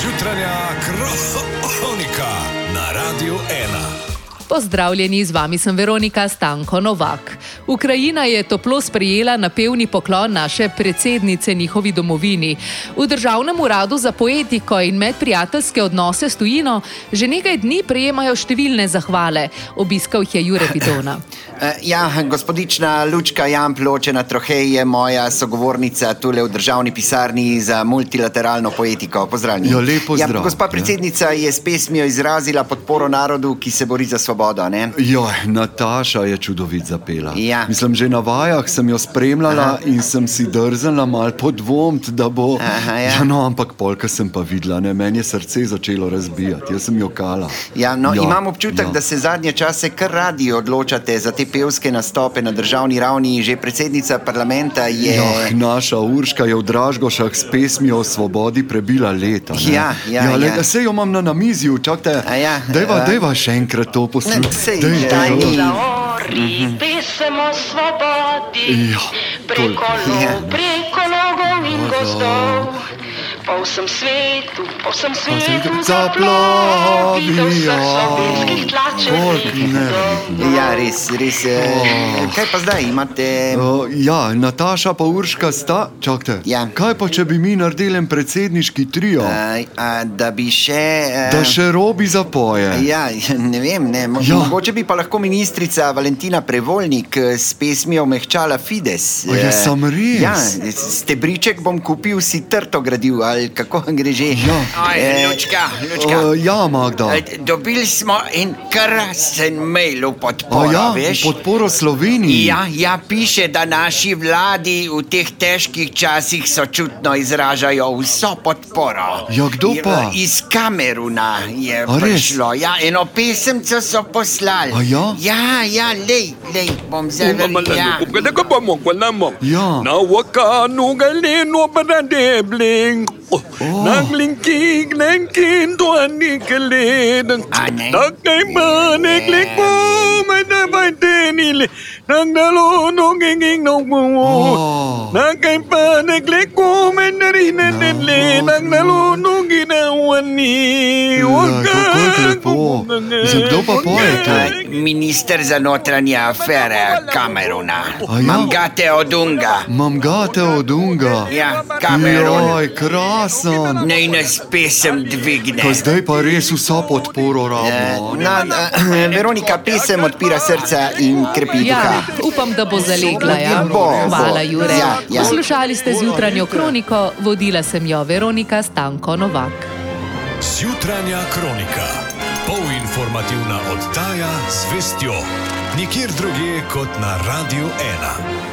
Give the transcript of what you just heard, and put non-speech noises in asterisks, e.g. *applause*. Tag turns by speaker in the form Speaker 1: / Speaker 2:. Speaker 1: Jutranja kronika na Radiu 1.
Speaker 2: Pozdravljeni, z vami sem Veronika Stanko Novak. Ukrajina je toplo sprejela napevni poklon naše predsednice njihovi domovini. V Državnem uradu za poetiko in medprijateljske odnose s tujino že nekaj dni prejemajo številne zahvale. Obiskal jih je Jure
Speaker 3: *laughs*
Speaker 2: Bidona.
Speaker 3: Eh, Ja, gospodična Lučka Jan Pločena Trohej je moja sogovornica tule v državni pisarni za multilateralno poetiko. Pozdravljeni.
Speaker 4: Ja, lep pozdrav.
Speaker 3: Ja, gospa predsednica je s pesmijo izrazila podporo narodu, ki se bori za svobodo. Ne?
Speaker 4: Joj, Nataša je čudovit zapela.
Speaker 3: Ja.
Speaker 4: Mislim, že na vajah sem jo spremljala
Speaker 3: Aha.
Speaker 4: Aha. in sem si drznila malo podvomiti, da bo.
Speaker 3: Aha, ja.
Speaker 4: no, ampak polka sem pa videla, ne? meni je srce začelo razbijati, jaz sem jo kala.
Speaker 3: Ja, no, ja, imam občutek, ja. da se zadnje čase kar radi odločate za te pevske nastope na državni ravni. Že predsednica parlamenta je.
Speaker 4: Joh, Ja, naša Urška je v Dražgošah s pesmijo o svobodi prebila leta. ne.
Speaker 3: Ja, ja,
Speaker 4: ja,
Speaker 3: ja.
Speaker 4: Le, se jo imam na namizju, čakajte.
Speaker 3: A ja,
Speaker 4: deva,
Speaker 3: a-
Speaker 4: deva še enkrat to
Speaker 3: Ne,
Speaker 4: poslušati.
Speaker 3: sej, daj ni.
Speaker 5: Govoriti smo svobodi,
Speaker 4: Ja,
Speaker 5: preko
Speaker 4: toliko.
Speaker 3: Ja.
Speaker 5: lov, preko logov in
Speaker 4: Gozdov.
Speaker 5: gozdov. Po vsem svetu, po vsem svetu
Speaker 4: svetu
Speaker 5: zaplovi do
Speaker 4: zaplovijo.
Speaker 5: vseh slovenskih
Speaker 4: Koliko
Speaker 5: tlačenih
Speaker 4: neverjetno.
Speaker 3: Ja, res, res. Oh. Kaj pa zdaj imate?
Speaker 4: Uh, ja, Nataša pa Urška sta. Čakajte.
Speaker 3: Ja.
Speaker 4: Kaj pa, če bi mi naredili en predsedniški
Speaker 6: Eh,
Speaker 4: trio, uh,
Speaker 3: A, e, a, da bi še. eh,
Speaker 4: da še robi zapoje?
Speaker 3: Ja, ne vem, ne. Mo
Speaker 4: Eh. Ja.
Speaker 3: mogoče bi pa lahko ministrica Valentina Prevolnik eh, s pesmijo mehčala Fides.
Speaker 4: A ja,
Speaker 3: Eh,
Speaker 4: sam res?
Speaker 3: Ja, stebriček bom kupil, si trto gradil, ali kako gre že.
Speaker 4: Ja.
Speaker 6: Aj, Lučka, Lučka.
Speaker 4: Uh, ja, Magda.
Speaker 6: Eh, Dobili smo en krasen mail v
Speaker 4: A
Speaker 6: podporo,
Speaker 4: ja,
Speaker 6: veš?
Speaker 4: podporo Sloveniji.
Speaker 6: Ja, ja, piše, da naši vladi v teh težkih časih sočutno izražajo vso podporo.
Speaker 4: Ja, kdo
Speaker 6: Je-
Speaker 4: pa?
Speaker 6: Iz Kameruna je
Speaker 4: A res?
Speaker 6: prišlo. Ja, eno pesemco so poslali.
Speaker 4: A ja?
Speaker 6: Ja, ja, lej, lej, bom zdaj verjel. Ja.
Speaker 4: Ja.
Speaker 7: Na wakanu galeno bradebling. Naglinki glenkin to anikeleden.
Speaker 6: A ne.
Speaker 7: Takaj manek leko mene bajtenile. Nagdalo no genging no
Speaker 4: Oh.
Speaker 7: mu. Nakaj panek leko mene rihnedle. Nagdalo no gina wani.
Speaker 4: Ja, kako je lepo. Mislim, kdo pa poje to?
Speaker 6: Eh, Minister za notranje afere Kameruna.
Speaker 4: A ja?
Speaker 6: Mangate od Unga.
Speaker 4: Mam gate od unga.
Speaker 6: Ja, Kamerun.
Speaker 4: Joj, krasen.
Speaker 6: Naj nas pesem dvigne.
Speaker 4: Kaj zdaj pa res vso podporo
Speaker 3: Eh,
Speaker 6: Ja.
Speaker 4: rabimo. ne?
Speaker 3: Na,
Speaker 6: *clears throat*
Speaker 3: eh, Veronika pesem odpira srca in krepi
Speaker 2: Ja,
Speaker 3: duha.
Speaker 2: upam, da bo zalegla. Ja.
Speaker 3: Bo, bo.
Speaker 2: Hvala, Jure.
Speaker 3: Ja, ja.
Speaker 2: Poslušali ste z jutranjo kroniko, vodila sem jo Veronika Stanko Novak.
Speaker 1: Jutranja kronika. Polinformativna oddaja z vestjo. Nikjer drugje kot na Radiu 1.